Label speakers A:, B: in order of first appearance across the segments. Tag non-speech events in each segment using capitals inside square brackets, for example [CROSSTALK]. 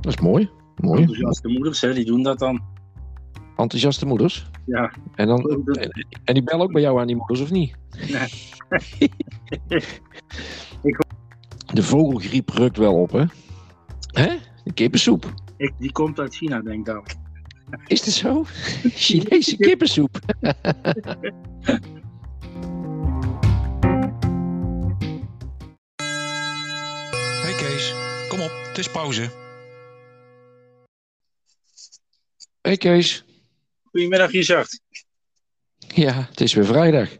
A: Dat is mooi. Mooi.
B: Enthousiaste moeders, hè, die doen dat dan.
A: Enthousiaste moeders.
B: Ja.
A: En, dan, en, en die bellen ook bij jou aan die moeders, of niet? [LAUGHS] De vogelgriep rukt wel op, hè? Hè? De kippensoep.
B: Ik, die komt uit China, denk ik dan.
A: Is dit zo? [LAUGHS] Chinese kippensoep. [LAUGHS]
C: Hey Kees, kom op, het is pauze.
A: Hé Kees.
B: Goedemiddag, Richard.
A: Ja, het is weer vrijdag.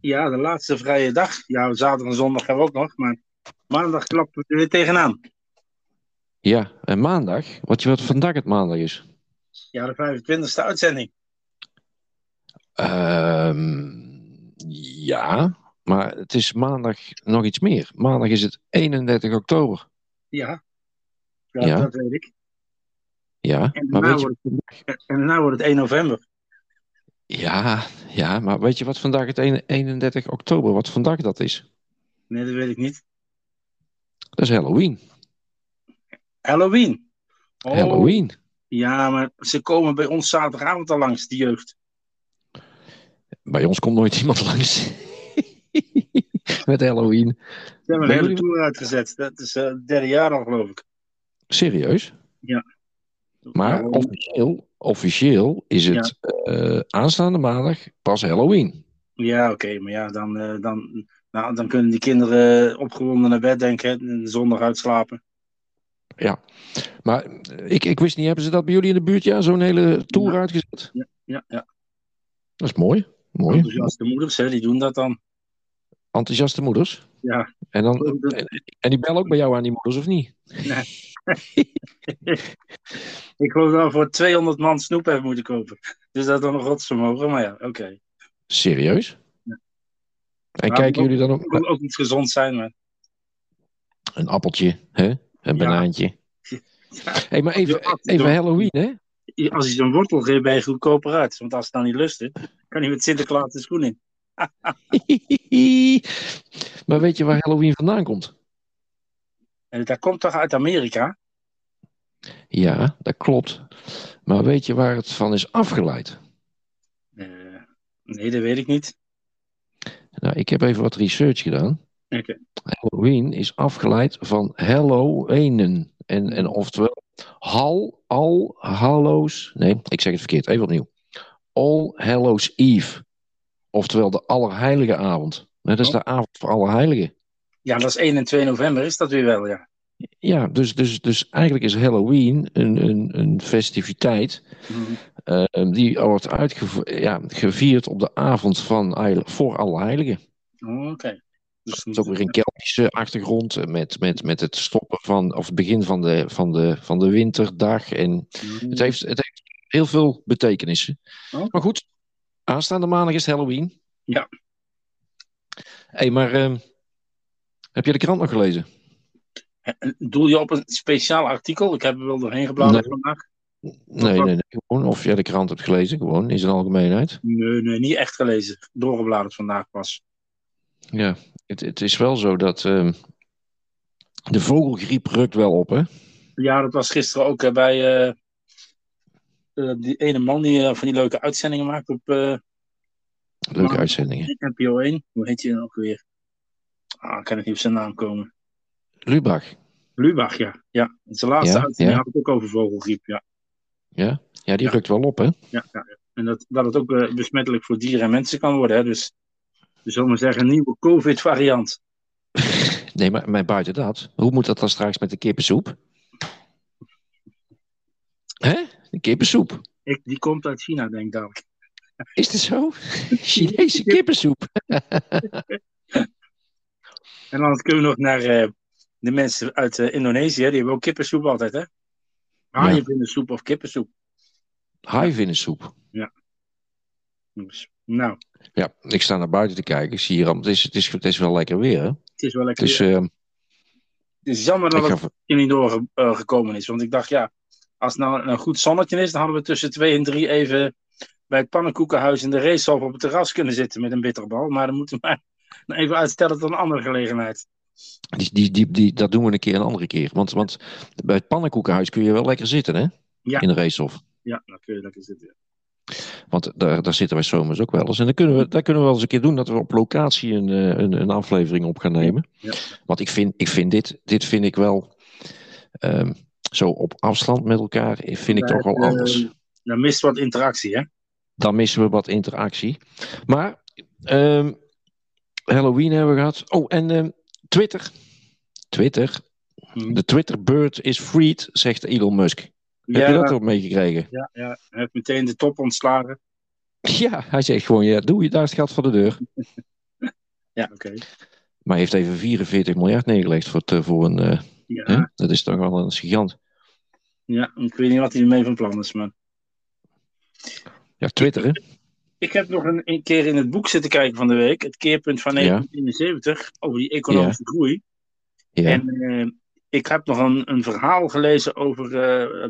B: Ja, de laatste vrije dag. Ja, zaterdag en zondag hebben we ook nog, maar maandag klappen we er weer tegenaan.
A: Ja, en maandag. Wat je wat vandaag het maandag is.
B: Ja, de 25e uitzending.
A: Ehm, ja, maar het is maandag nog iets meer. Maandag is het 31 oktober.
B: Ja. Ja,
A: Ja.
B: dat weet ik.
A: Ja,
B: En
A: maar
B: daarna
A: weet je,
B: wordt het, en daarna wordt het 1 november.
A: ja, ja, maar weet je wat vandaag het een- 31 oktober, wat vandaag dat is?
B: Nee, dat weet ik niet.
A: Dat is Halloween.
B: Halloween. Oh,
A: Halloween.
B: Ja, maar ze komen bij ons zaterdagavond al langs, die jeugd.
A: Bij ons komt nooit iemand langs. [LAUGHS] Met Halloween.
B: Ze hebben
A: Ben
B: een hele
A: jullie-
B: tour uitgezet. Dat is eh, het derde jaar al, geloof ik.
A: Serieus? Maar
B: Ja,
A: officieel, officieel is het eh, aanstaande maandag pas Halloween.
B: Ja, oké, maar ja, dan, eh, dan, nou, dan kunnen die kinderen eh, opgewonden naar bed denken hè, en zondag uitslapen.
A: Maar eh, ik, ik wist niet, hebben ze dat bij jullie in de buurt ja, zo'n hele tour
B: Ja.
A: uitgezet?
B: Ja,
A: Oh
B: ja.
A: Dat is mooi. Mooi.
B: Enthousiaste moeders, hè, die doen dat dan.
A: Enthousiaste moeders.
B: Ja.
A: En, dan, en die bellen ook bij jou aan die moeders, of niet?
B: Ik geloof dat we voor 200 man snoep hebben moeten kopen. Dus dat is dan een godsvermogen, maar ja, oké.
A: Serieus? En
B: Ja,
A: kijken
B: ook-
A: jullie dan ook
B: Het moet ook niet gezond zijn, maar
A: een appeltje, hè? een
B: [LAUGHS]
A: banaantje? hey, maar even,
B: Ja,
A: even
B: ja.
A: Halloween, hè? [LAUGHS]
B: als je zo'n wortel geeft, ben je goedkoper uit. Want als het dan niet lust, hè, kan hij met Sinterklaas de schoen in.
A: maar weet je waar Halloween vandaan komt?
B: En dat komt toch uit Amerika?
A: Ja, dat klopt. Maar weet je waar het van is afgeleid?
B: Eh, nee, dat weet ik niet.
A: Nou, ik heb even wat research gedaan.
B: Oké.
A: Halloween is afgeleid van Halloweenen. En, en oftewel, hal, al, hallows. Nee, ik zeg het verkeerd. Even opnieuw. All Hallows Eve. Oftewel de Allerheilige avond. Nou, Dat is de avond voor Allerheiligen.
B: Ja, dat is 1 en 2 november, is dat weer wel, ja.
A: Ja, dus, dus, dus eigenlijk is Halloween een, een, een festiviteit.
B: Mhm.
A: eh, die wordt uitgevo- ja, gevierd op de avond van, Eil- voor Allerheiligen.
B: Oh, Oké. Dus
A: Het is ook weer een Keltische achtergrond eh, met, met, met het stoppen van, of het begin van de, van de, van de winterdag. En het, heeft, het heeft heel veel betekenissen.
B: Oké.
A: Maar goed, aanstaande maandag is Halloween.
B: Oh. Ja.
A: hey, maar ehm, heb je de krant nog gelezen?
B: Doel je op een speciaal artikel? Ik heb er wel doorheen gebladerd
A: Nee.
B: vandaag.
A: Nee, nee, nee. Gewoon of jij de krant hebt gelezen, gewoon in zijn algemeenheid.
B: Nee, nee, niet echt gelezen. Doorgebladerd vandaag pas.
A: Ja, het, het is wel zo dat ehm, de vogelgriep rukt wel op, hè?
B: Ja, dat was gisteren ook eh, bij eh, eh, die ene man die eh, van die leuke uitzendingen maakt op eh,
A: Leuke
B: Maar-
A: uitzendingen.
B: NPO 1. Hoe heet je dan ook weer? Ah, ik kan ik niet op zijn naam komen.
A: Lubach.
B: Lubach, ja. Ja, zijn laatste
A: Ja,
B: uitzending
A: ja.
B: had het ook over vogelgriep, ja.
A: Ja, die
B: Ja.
A: rukt wel op, hè?
B: ja, ja. ja. En dat, dat het ook eh, besmettelijk voor dieren en mensen kan worden. Hè? Dus we zullen maar zeggen, een nieuwe COVID-variant.
A: Nee, maar, maar buiten dat, hoe moet dat dan straks met de kippensoep? Hè? De kippensoep.
B: Ik, die komt uit China, denk ik dadelijk.
A: Is dat zo? Chinese kippensoep.
B: En dan kunnen we nog naar eh, de mensen uit eh, Indonesië. hè. Die hebben ook kippensoep altijd, hè? Haaienbindensoep of kippensoep.
A: Haaivinnensoep.
B: Dus, nou,
A: Ja, ik sta naar buiten te kijken. Ik zie hier, allemaal- het is, het is, het is wel lekker weer, hè?
B: het is wel lekker.
A: Dus
B: weer.
A: ehm
B: Het is jammer dat
A: ik
B: het
A: ga... ver-
B: er niet doorgekomen is. Want ik dacht, ja, als het nou een goed zonnetje is... dan hadden we tussen twee en drie even bij het pannenkoekenhuis in de [LAUGHS] racehof op het terras kunnen zitten met een bitterbal. Maar dan moeten we maar even uitstellen tot een andere gelegenheid.
A: Die, die, die, die, dat doen we een keer een andere keer. Want, want bij het pannenkoekenhuis kun je wel lekker zitten, hè?
B: Ja.
A: In de racehof.
B: Ja, dan kun je lekker zitten.
A: Want daar, daar zitten wij zomers ook wel eens. En dan kunnen we, daar kunnen we wel eens een keer doen dat we op locatie een, eh, een, een aflevering op gaan nemen.
B: Ja.
A: Want ik vind, ik vind dit, dit vind ik wel ehm, zo op afstand met elkaar, vind ik
B: Ja,
A: toch wel
B: eh,
A: Oh, anders.
B: Dan mist wat interactie, hè?
A: dan missen we wat interactie. Maar ehm, Halloween hebben we gehad. Oh, en ehm, Twitter. Twitter.
B: Mhm.
A: De Twitterbird is freed, zegt Elon Musk. Heb je dat ook meegekregen?
B: ja, ja. Hij heeft meteen de top ontslagen.
A: Ja, hij zegt gewoon, ja, doe je daar is het gat voor de deur.
B: Ja, oké.
A: Maar hij heeft even 44 miljard neergelegd voor, het, eh, voor een... eh,
B: Ja.
A: hè? Dat is toch wel een gigant.
B: ja, ik weet niet wat hij ermee van plan is, maar...
A: Ja, Twitter, hè?
B: Ik heb nog een, een keer in het boek zitten kijken van de week. Het keerpunt van
A: Ja.
B: 1971 over die economische groei.
A: Ja.
B: En eh, ik heb nog een, een verhaal gelezen over eh,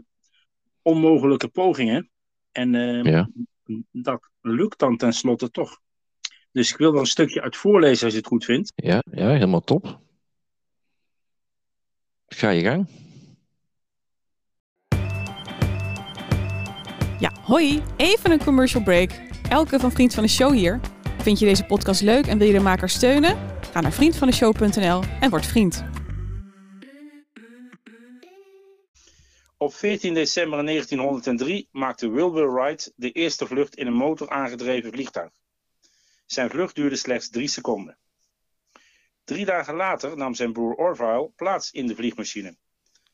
B: onmogelijke pogingen. En eh,
A: Ja.
B: dat lukt dan tenslotte toch. Dus ik wil er een stukje uit voorlezen als je het goed vindt.
A: Ja, ja, helemaal top. Ga je gang.
D: Ja, hoi! Even een commercial break. Elke van Vriend van de Show hier. Vind je deze podcast leuk en wil je de maker steunen? Ga naar vriendvandeshow.nl en word vriend.
B: Op 14 december 1903 maakte Wilbur Wright de eerste vlucht in een motor aangedreven vliegtuig. Zijn vlucht duurde slechts drie seconden. Drie dagen later nam zijn broer Orville plaats in de vliegmachine.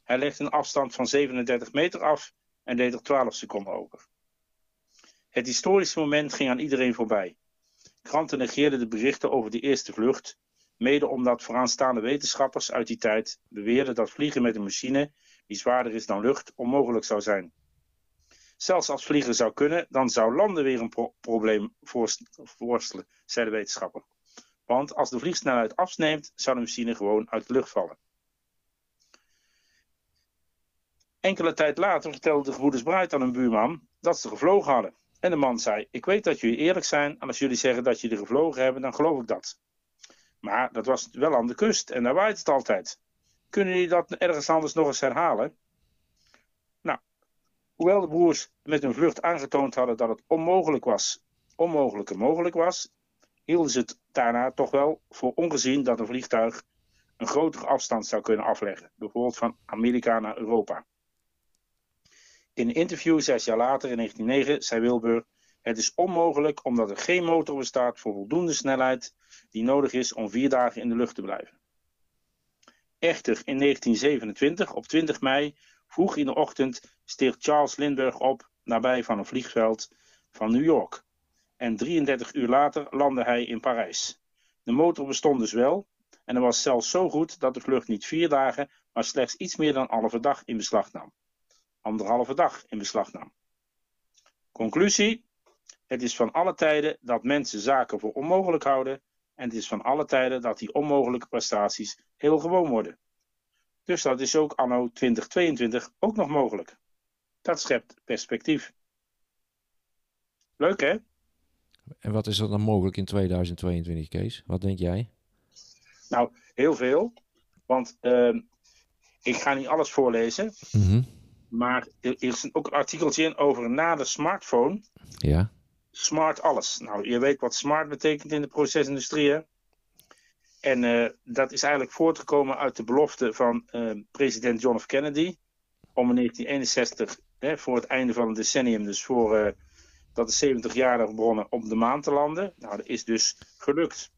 B: Hij legde een afstand van 37 meter af en deed er 12 seconden over. Het historische moment ging aan iedereen voorbij. Kranten negeerden de berichten over de eerste vlucht, mede omdat vooraanstaande wetenschappers uit die tijd beweerden dat vliegen met een machine die zwaarder is dan lucht, onmogelijk zou zijn. Zelfs als vliegen zou kunnen, dan zou landen weer een pro- probleem voors- voorstellen, zei de wetenschapper. Want als de vliegsnelheid afneemt, zou de machine gewoon uit de lucht vallen. Enkele tijd later vertelde de gebroeders Bruid aan een buurman dat ze gevlogen hadden. En de man zei, ik weet dat jullie eerlijk zijn en als jullie zeggen dat jullie gevlogen hebben, dan geloof ik dat. Maar dat was wel aan de kust en daar waait het altijd. Kunnen jullie dat ergens anders nog eens herhalen? Nou, hoewel de broers met hun vlucht aangetoond hadden dat het onmogelijk was, onmogelijke mogelijk was, hielden ze het daarna toch wel voor ongezien dat een vliegtuig een grotere afstand zou kunnen afleggen, bijvoorbeeld van Amerika naar Europa. In een interview zes jaar later, in 1909, zei Wilbur: Het is onmogelijk omdat er geen motor bestaat voor voldoende snelheid die nodig is om vier dagen in de lucht te blijven. Echter, in 1927, op 20 mei, vroeg in de ochtend, steeg Charles Lindbergh op nabij van een vliegveld van New York. En 33 uur later landde hij in Parijs. De motor bestond dus wel en hij was zelfs zo goed dat de vlucht niet vier dagen, maar slechts iets meer dan halve dag in beslag nam. Anderhalve dag in beslag nam. Conclusie: het is van alle tijden dat mensen zaken voor onmogelijk houden en het is van alle tijden dat die onmogelijke prestaties heel gewoon worden. Dus dat is ook anno 2022 ook nog mogelijk. Dat schept perspectief. Leuk hè?
A: En wat is er dan mogelijk in 2022, Kees? Wat denk jij?
B: Nou, heel veel. Want ehm, ik ga niet alles voorlezen. Maar er er is ook een artikeltje in over na de smartphone.
A: Ja.
B: Smart alles. Nou, je weet wat smart betekent in de procesindustrie. hè? En eh, dat is eigenlijk voortgekomen uit de belofte van eh, president John F. Kennedy. Om in 1961, hè, voor het einde van het decennium, dus voor eh, dat de 70 jarige begonnen, op de maan te landen. Nou, dat is dus gelukt.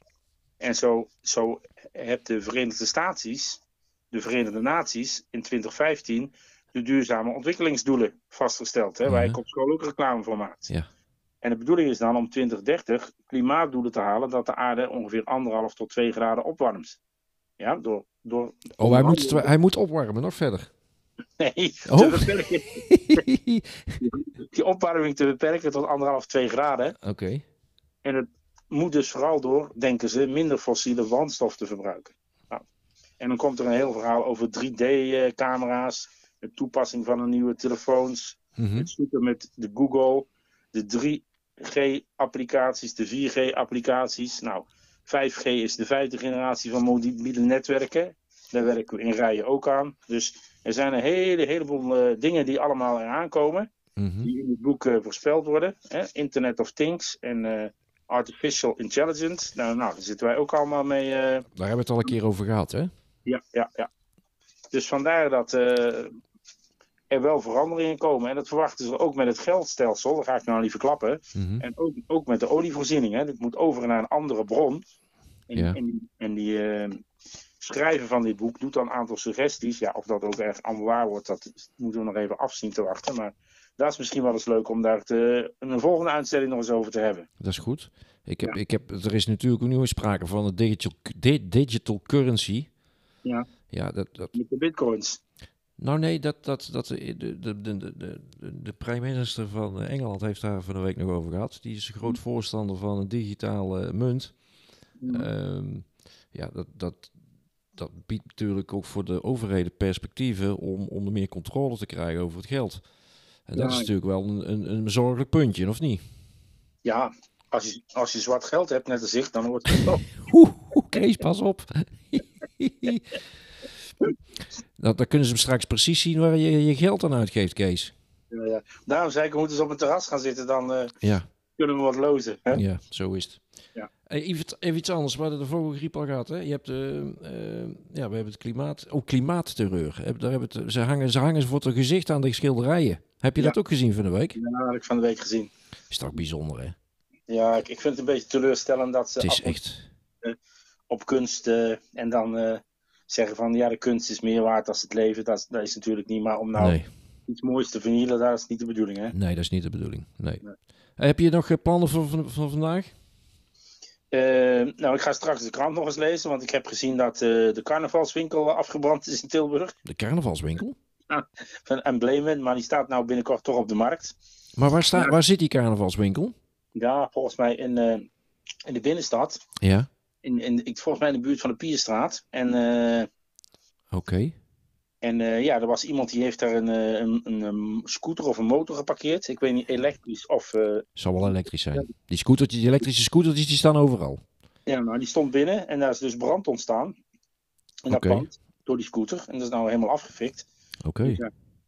B: En zo, zo heeft de Verenigde Staties, de Verenigde Naties, in 2015 de duurzame ontwikkelingsdoelen vastgesteld. Hè, waar
A: Ja.
B: ik op school ook reclame voor maakte.
A: Mhm. Ja.
B: En de bedoeling is dan om 2030 klimaatdoelen te halen dat de aarde ongeveer anderhalf tot twee graden opwarmt. Ja, door. door [LAUGHS]
A: Oh, hij moet, twa- hij moet opwarmen, nog verder. [LAUGHS]
B: nee,
A: Oh.
B: te beperken, die opwarming te beperken tot anderhalf, twee graden.
A: Oké.
B: En het moet dus vooral door, denken ze, minder fossiele brandstof te verbruiken. Nou, en dan komt er een heel verhaal over 3D-camera's, de toepassing van de nieuwe telefoons,
A: Mhm.
B: Het zoeken met de Google, de 3G-applicaties, de 4G-applicaties. Nou, 5G is de vijfde generatie van mobiele netwerken. Daar werken we in rijen ook aan. Dus er zijn een hele, heleboel eh, dingen die allemaal eraan komen.
A: Mhm.
B: Die in het boek eh, voorspeld worden. Hè? Internet of Things en eh, Artificial Intelligence. Nou, nou, daar zitten wij ook allemaal mee. eh,
A: Daar hebben we het al een keer over gehad, hè?
B: ja, ja, ja. Dus vandaar dat eh, er wel veranderingen komen. En dat verwachten ze ook met het geldstelsel. Dat ga ik nou niet verklappen.
A: Mhm.
B: En ook, ook met de olievoorziening. Hè. Dit moet over naar een andere bron. En,
A: Ja.
B: en, en die eh, schrijver van dit boek doet dan een aantal suggesties. Ja, of dat ook echt allemaal waar wordt, dat moeten we nog even afzien te wachten. Maar dat is misschien wel eens leuk om daar te, een volgende uitzending nog eens over te hebben.
A: Dat is goed. Ik heb, ik heb, er is natuurlijk ook nu sprake van een digital, di- digital currency.
B: Ja.
A: Ja, dat, dat,
B: Met de bitcoins.
A: nou nee, dat, dat, dat, de, de, de, de, de, de prime-minister van eh, Engeland heeft daar van de week nog over gehad. Die is een groot voorstander van een digitale munt. Ehm, ja, dat, dat, dat biedt natuurlijk ook voor de overheden perspectieven om, om er meer controle te krijgen over het geld. En dat
B: Ja.
A: is natuurlijk wel een, een, een zorgelijk puntje, of niet?
B: Ja, als je, als je zwart geld hebt, net als ik, dan wordt het toch. [LAUGHS]
A: Oeh, oeh, Kees, pas op. [LAUGHS] dat, dan Nou, kunnen ze hem straks precies zien waar je je geld aan uitgeeft, Kees.
B: eh, Ja, ja. Daarom zei ik, we moeten eens op een terras gaan zitten, dan eh,
A: Ja,
B: kunnen we wat lozen. Hè?
A: ja zo is het.
B: Ja.
A: Eh, Even, even iets anders, we hadden de vogelgriep al gehad. Hè? Je hebt, eh, eh, ja, we hebben het klimaat, ook klimaatterreur. Heb- Daar hebben het, ze, hangen, ze hangen voor het gezicht aan de schilderijen. Heb je
B: Ja.
A: dat ook gezien van de week?
B: Ja, dat heb ik van de week gezien.
A: Is toch bijzonder, hè?
B: Ja, ik, ik vind het een beetje teleurstellend dat ze
A: Het
B: af
A: is
B: en
A: echt...
B: op kunst eh, en dan eh, zeggen van ja, de kunst is meer waard als het leven. Dat, is- dat is natuurlijk niet, maar om nou
A: Nee,
B: iets moois te vernielen, dat is niet de bedoeling. Hè?
A: nee, dat is niet de bedoeling. Nee. Eh, Heb je nog eh, plannen voor van, van vandaag?
B: Eh, nou, ik ga straks de krant nog eens lezen, want ik heb gezien dat eh, de carnavalswinkel afgebrand is in Tilburg.
A: De carnavalswinkel?
B: Van Emblemen, maar die staat nou binnenkort toch op de markt.
A: Maar waar, sta, waar zit die carnavalswinkel?
B: Ja, volgens mij in, eh, in de binnenstad.
A: Ja,
B: In, in, ik, volgens mij in de buurt van de Pierstraat. En, eh,
A: oké.
B: en eh, ja, er was iemand die heeft daar een, eh, een, een, een scooter of een motor geparkeerd. Ik weet niet, elektrisch of eh,
A: Zal wel elektrisch zijn. Die, scootertjes, die elektrische scootertjes die staan overal.
B: Ja, nou, die stond binnen en daar is dus brand ontstaan. En dat
A: Oké.
B: pand door die scooter. En dat is nou helemaal afgefikt.
A: Oké.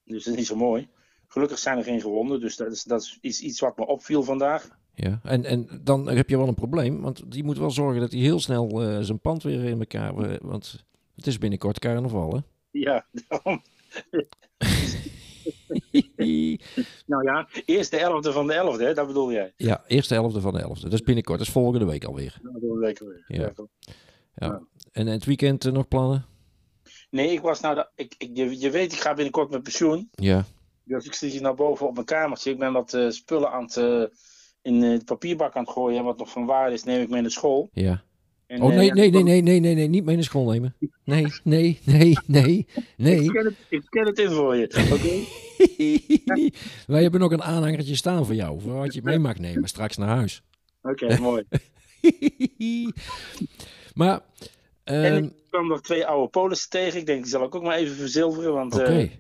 B: Dus dat is niet zo mooi. Gelukkig zijn er geen gewonden. Dus dat is, dat is iets, iets wat me opviel vandaag. [LAUGHS]
A: Ja. En, en dan heb je wel een probleem, want die moet wel zorgen dat hij heel snel eh, zijn pand weer in elkaar... eh, want het is binnenkort carnaval, hè?
B: Ja, daarom. nou ja, eerst de 11e van de 11e, hè? dat bedoel jij.
A: ja, eerste helft van de helft. Dat is binnenkort, dat is volgende week alweer.
B: Dat bedoel ik weer.
A: Ja. Ja. En het weekend eh, nog plannen?
B: Nee, ik was nou. dat- Ik, ik, je, je weet, ik ga binnenkort met pensioen.
A: Ja.
B: Dus ik zit hier naar boven op mijn kamertje. Ik ben wat eh, spullen aan het. eh, in eh, de papierbak aan het gooien. En wat nog van waarde is, neem ik mee naar school.
A: Ja.
B: En,
A: Oh
B: eh,
A: nee,
B: ja,
A: nee, nee,
B: ik-
A: nee, nee, nee, nee. Niet mee naar school nemen. Nee, nee, nee, nee, nee. [LAUGHS]
B: Ik ken, het, ik ken het in voor je. [LAUGHS] Oké?
A: Wij hebben nog een aanhangertje staan voor jou, voor wat je mee mag nemen straks naar huis. [LAUGHS]
B: Oké, mooi.
A: maar, ehm,
B: En ik kwam nog twee oude polissen tegen. Ik denk, die zal ik ook maar even verzilveren. Want,
A: oké.
B: eh,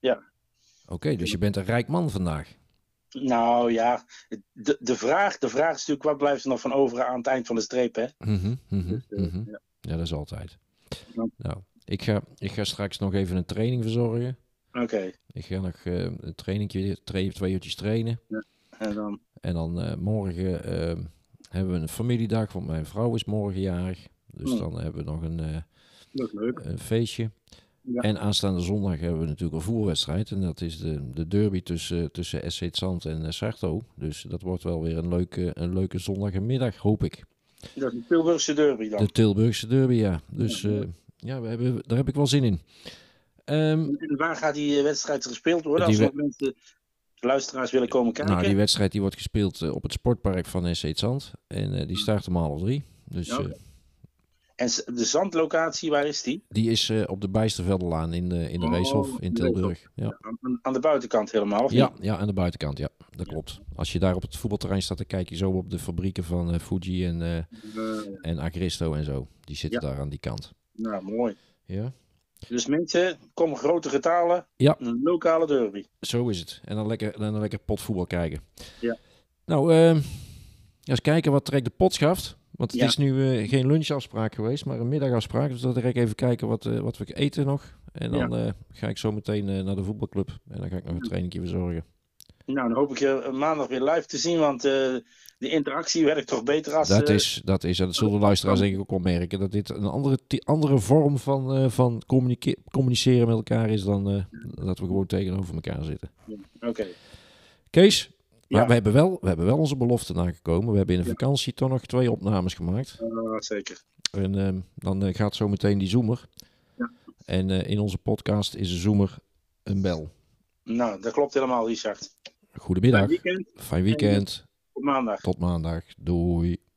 B: ja.
A: Oké, dus je bent een rijk man vandaag.
B: nou ja, de, de, vraag, de vraag is natuurlijk, wat blijft er nog van over aan het eind van de streep, hè?
A: Mhm, mhm,
B: eh,
A: mhm. Ja, dat is altijd.
B: Ja.
A: Nou, ik ga, ik ga straks nog even een training verzorgen.
B: Oké,
A: Ik ga nog eh, een trainingje, twee, twee uurtjes trainen.
B: en dan...
A: En dan eh, morgen eh, hebben we een familiedag, want mijn vrouw is morgen jarig. Dus
B: Ja.
A: dan hebben we nog een... eh,
B: Dat is leuk.
A: een feestje.
B: Ja.
A: En aanstaande zondag hebben we natuurlijk een voerwedstrijd. En dat is de, de derby tussen, tussen SC Zand en eh, Sarto. Dus dat wordt wel weer een leuke, een leuke zondagmiddag, hoop ik.
B: Dat is de Tilburgse derby dan.
A: De Tilburgse derby, ja. Dus eh, ja, we hebben, daar heb ik wel zin in. Ehm,
B: En waar gaat die eh, wedstrijd gespeeld worden?
A: Die
B: Als er nog mensen, luisteraars willen komen kijken.
A: nou, die wedstrijd die wordt gespeeld eh, op het sportpark van SC Zand. En eh, die start om half drie. Dus
B: Ja, oké.
A: eh,
B: En s- de zandlocatie, waar is die?
A: die is eh, op de Bijstervelderlaan in de, in de
B: Oh,
A: Reeshof in
B: de Reeshof.
A: Tilburg. Ja.
B: Aan, aan de buitenkant helemaal, of
A: Ja,
B: niet?
A: ja, aan de buitenkant, ja. Dat klopt. Als je daar op het voetbalterrein staat, dan kijk je zo op de fabrieken van eh, Fuji en, eh,
B: Eh,
A: en Agristo en zo. Die zitten daar aan die kant.
B: nou, mooi.
A: Ja,
B: Dus mensen, kom grote getalen.
A: Ja.
B: Een lokale derby.
A: zo is het. En dan lekker, en dan lekker potvoetbal kijken.
B: Ja.
A: Nou, ehm, eens kijken wat trekt de pot schaft. Want het
B: Ja.
A: is nu eh, geen lunchafspraak geweest, maar een middagafspraak. Dus dat ik even kijken wat, eh, wat we eten nog. En dan eh, ga ik zo meteen eh, naar de voetbalclub. En dan ga ik nog een trainingje verzorgen.
B: Nou, dan hoop ik je maandag weer live te zien, want eh, de interactie werkt toch beter als... Oh.
A: Dat
B: eh,
A: is, dat is, en dat zullen de luisteraars denk ik ook wel merken, dat dit een andere, ti- andere vorm van, eh, van communice- communiceren met elkaar is dan eh, dat we gewoon tegenover elkaar zitten.
B: Oké.
A: Kees, maar
B: Ja.
A: we, hebben wel, we hebben wel onze belofte nagekomen. We hebben in de vakantie toch nog twee opnames gemaakt.
B: Ah, zeker.
A: En ehm, dan eh, gaat zo meteen die zoemer. En eh, in onze podcast is de zoemer een bel.
B: Nou, dat klopt helemaal, Richard.
A: Goedemiddag,
B: Weekend
A: fijn weekend,
B: op maandag.
A: tot maandag, doei.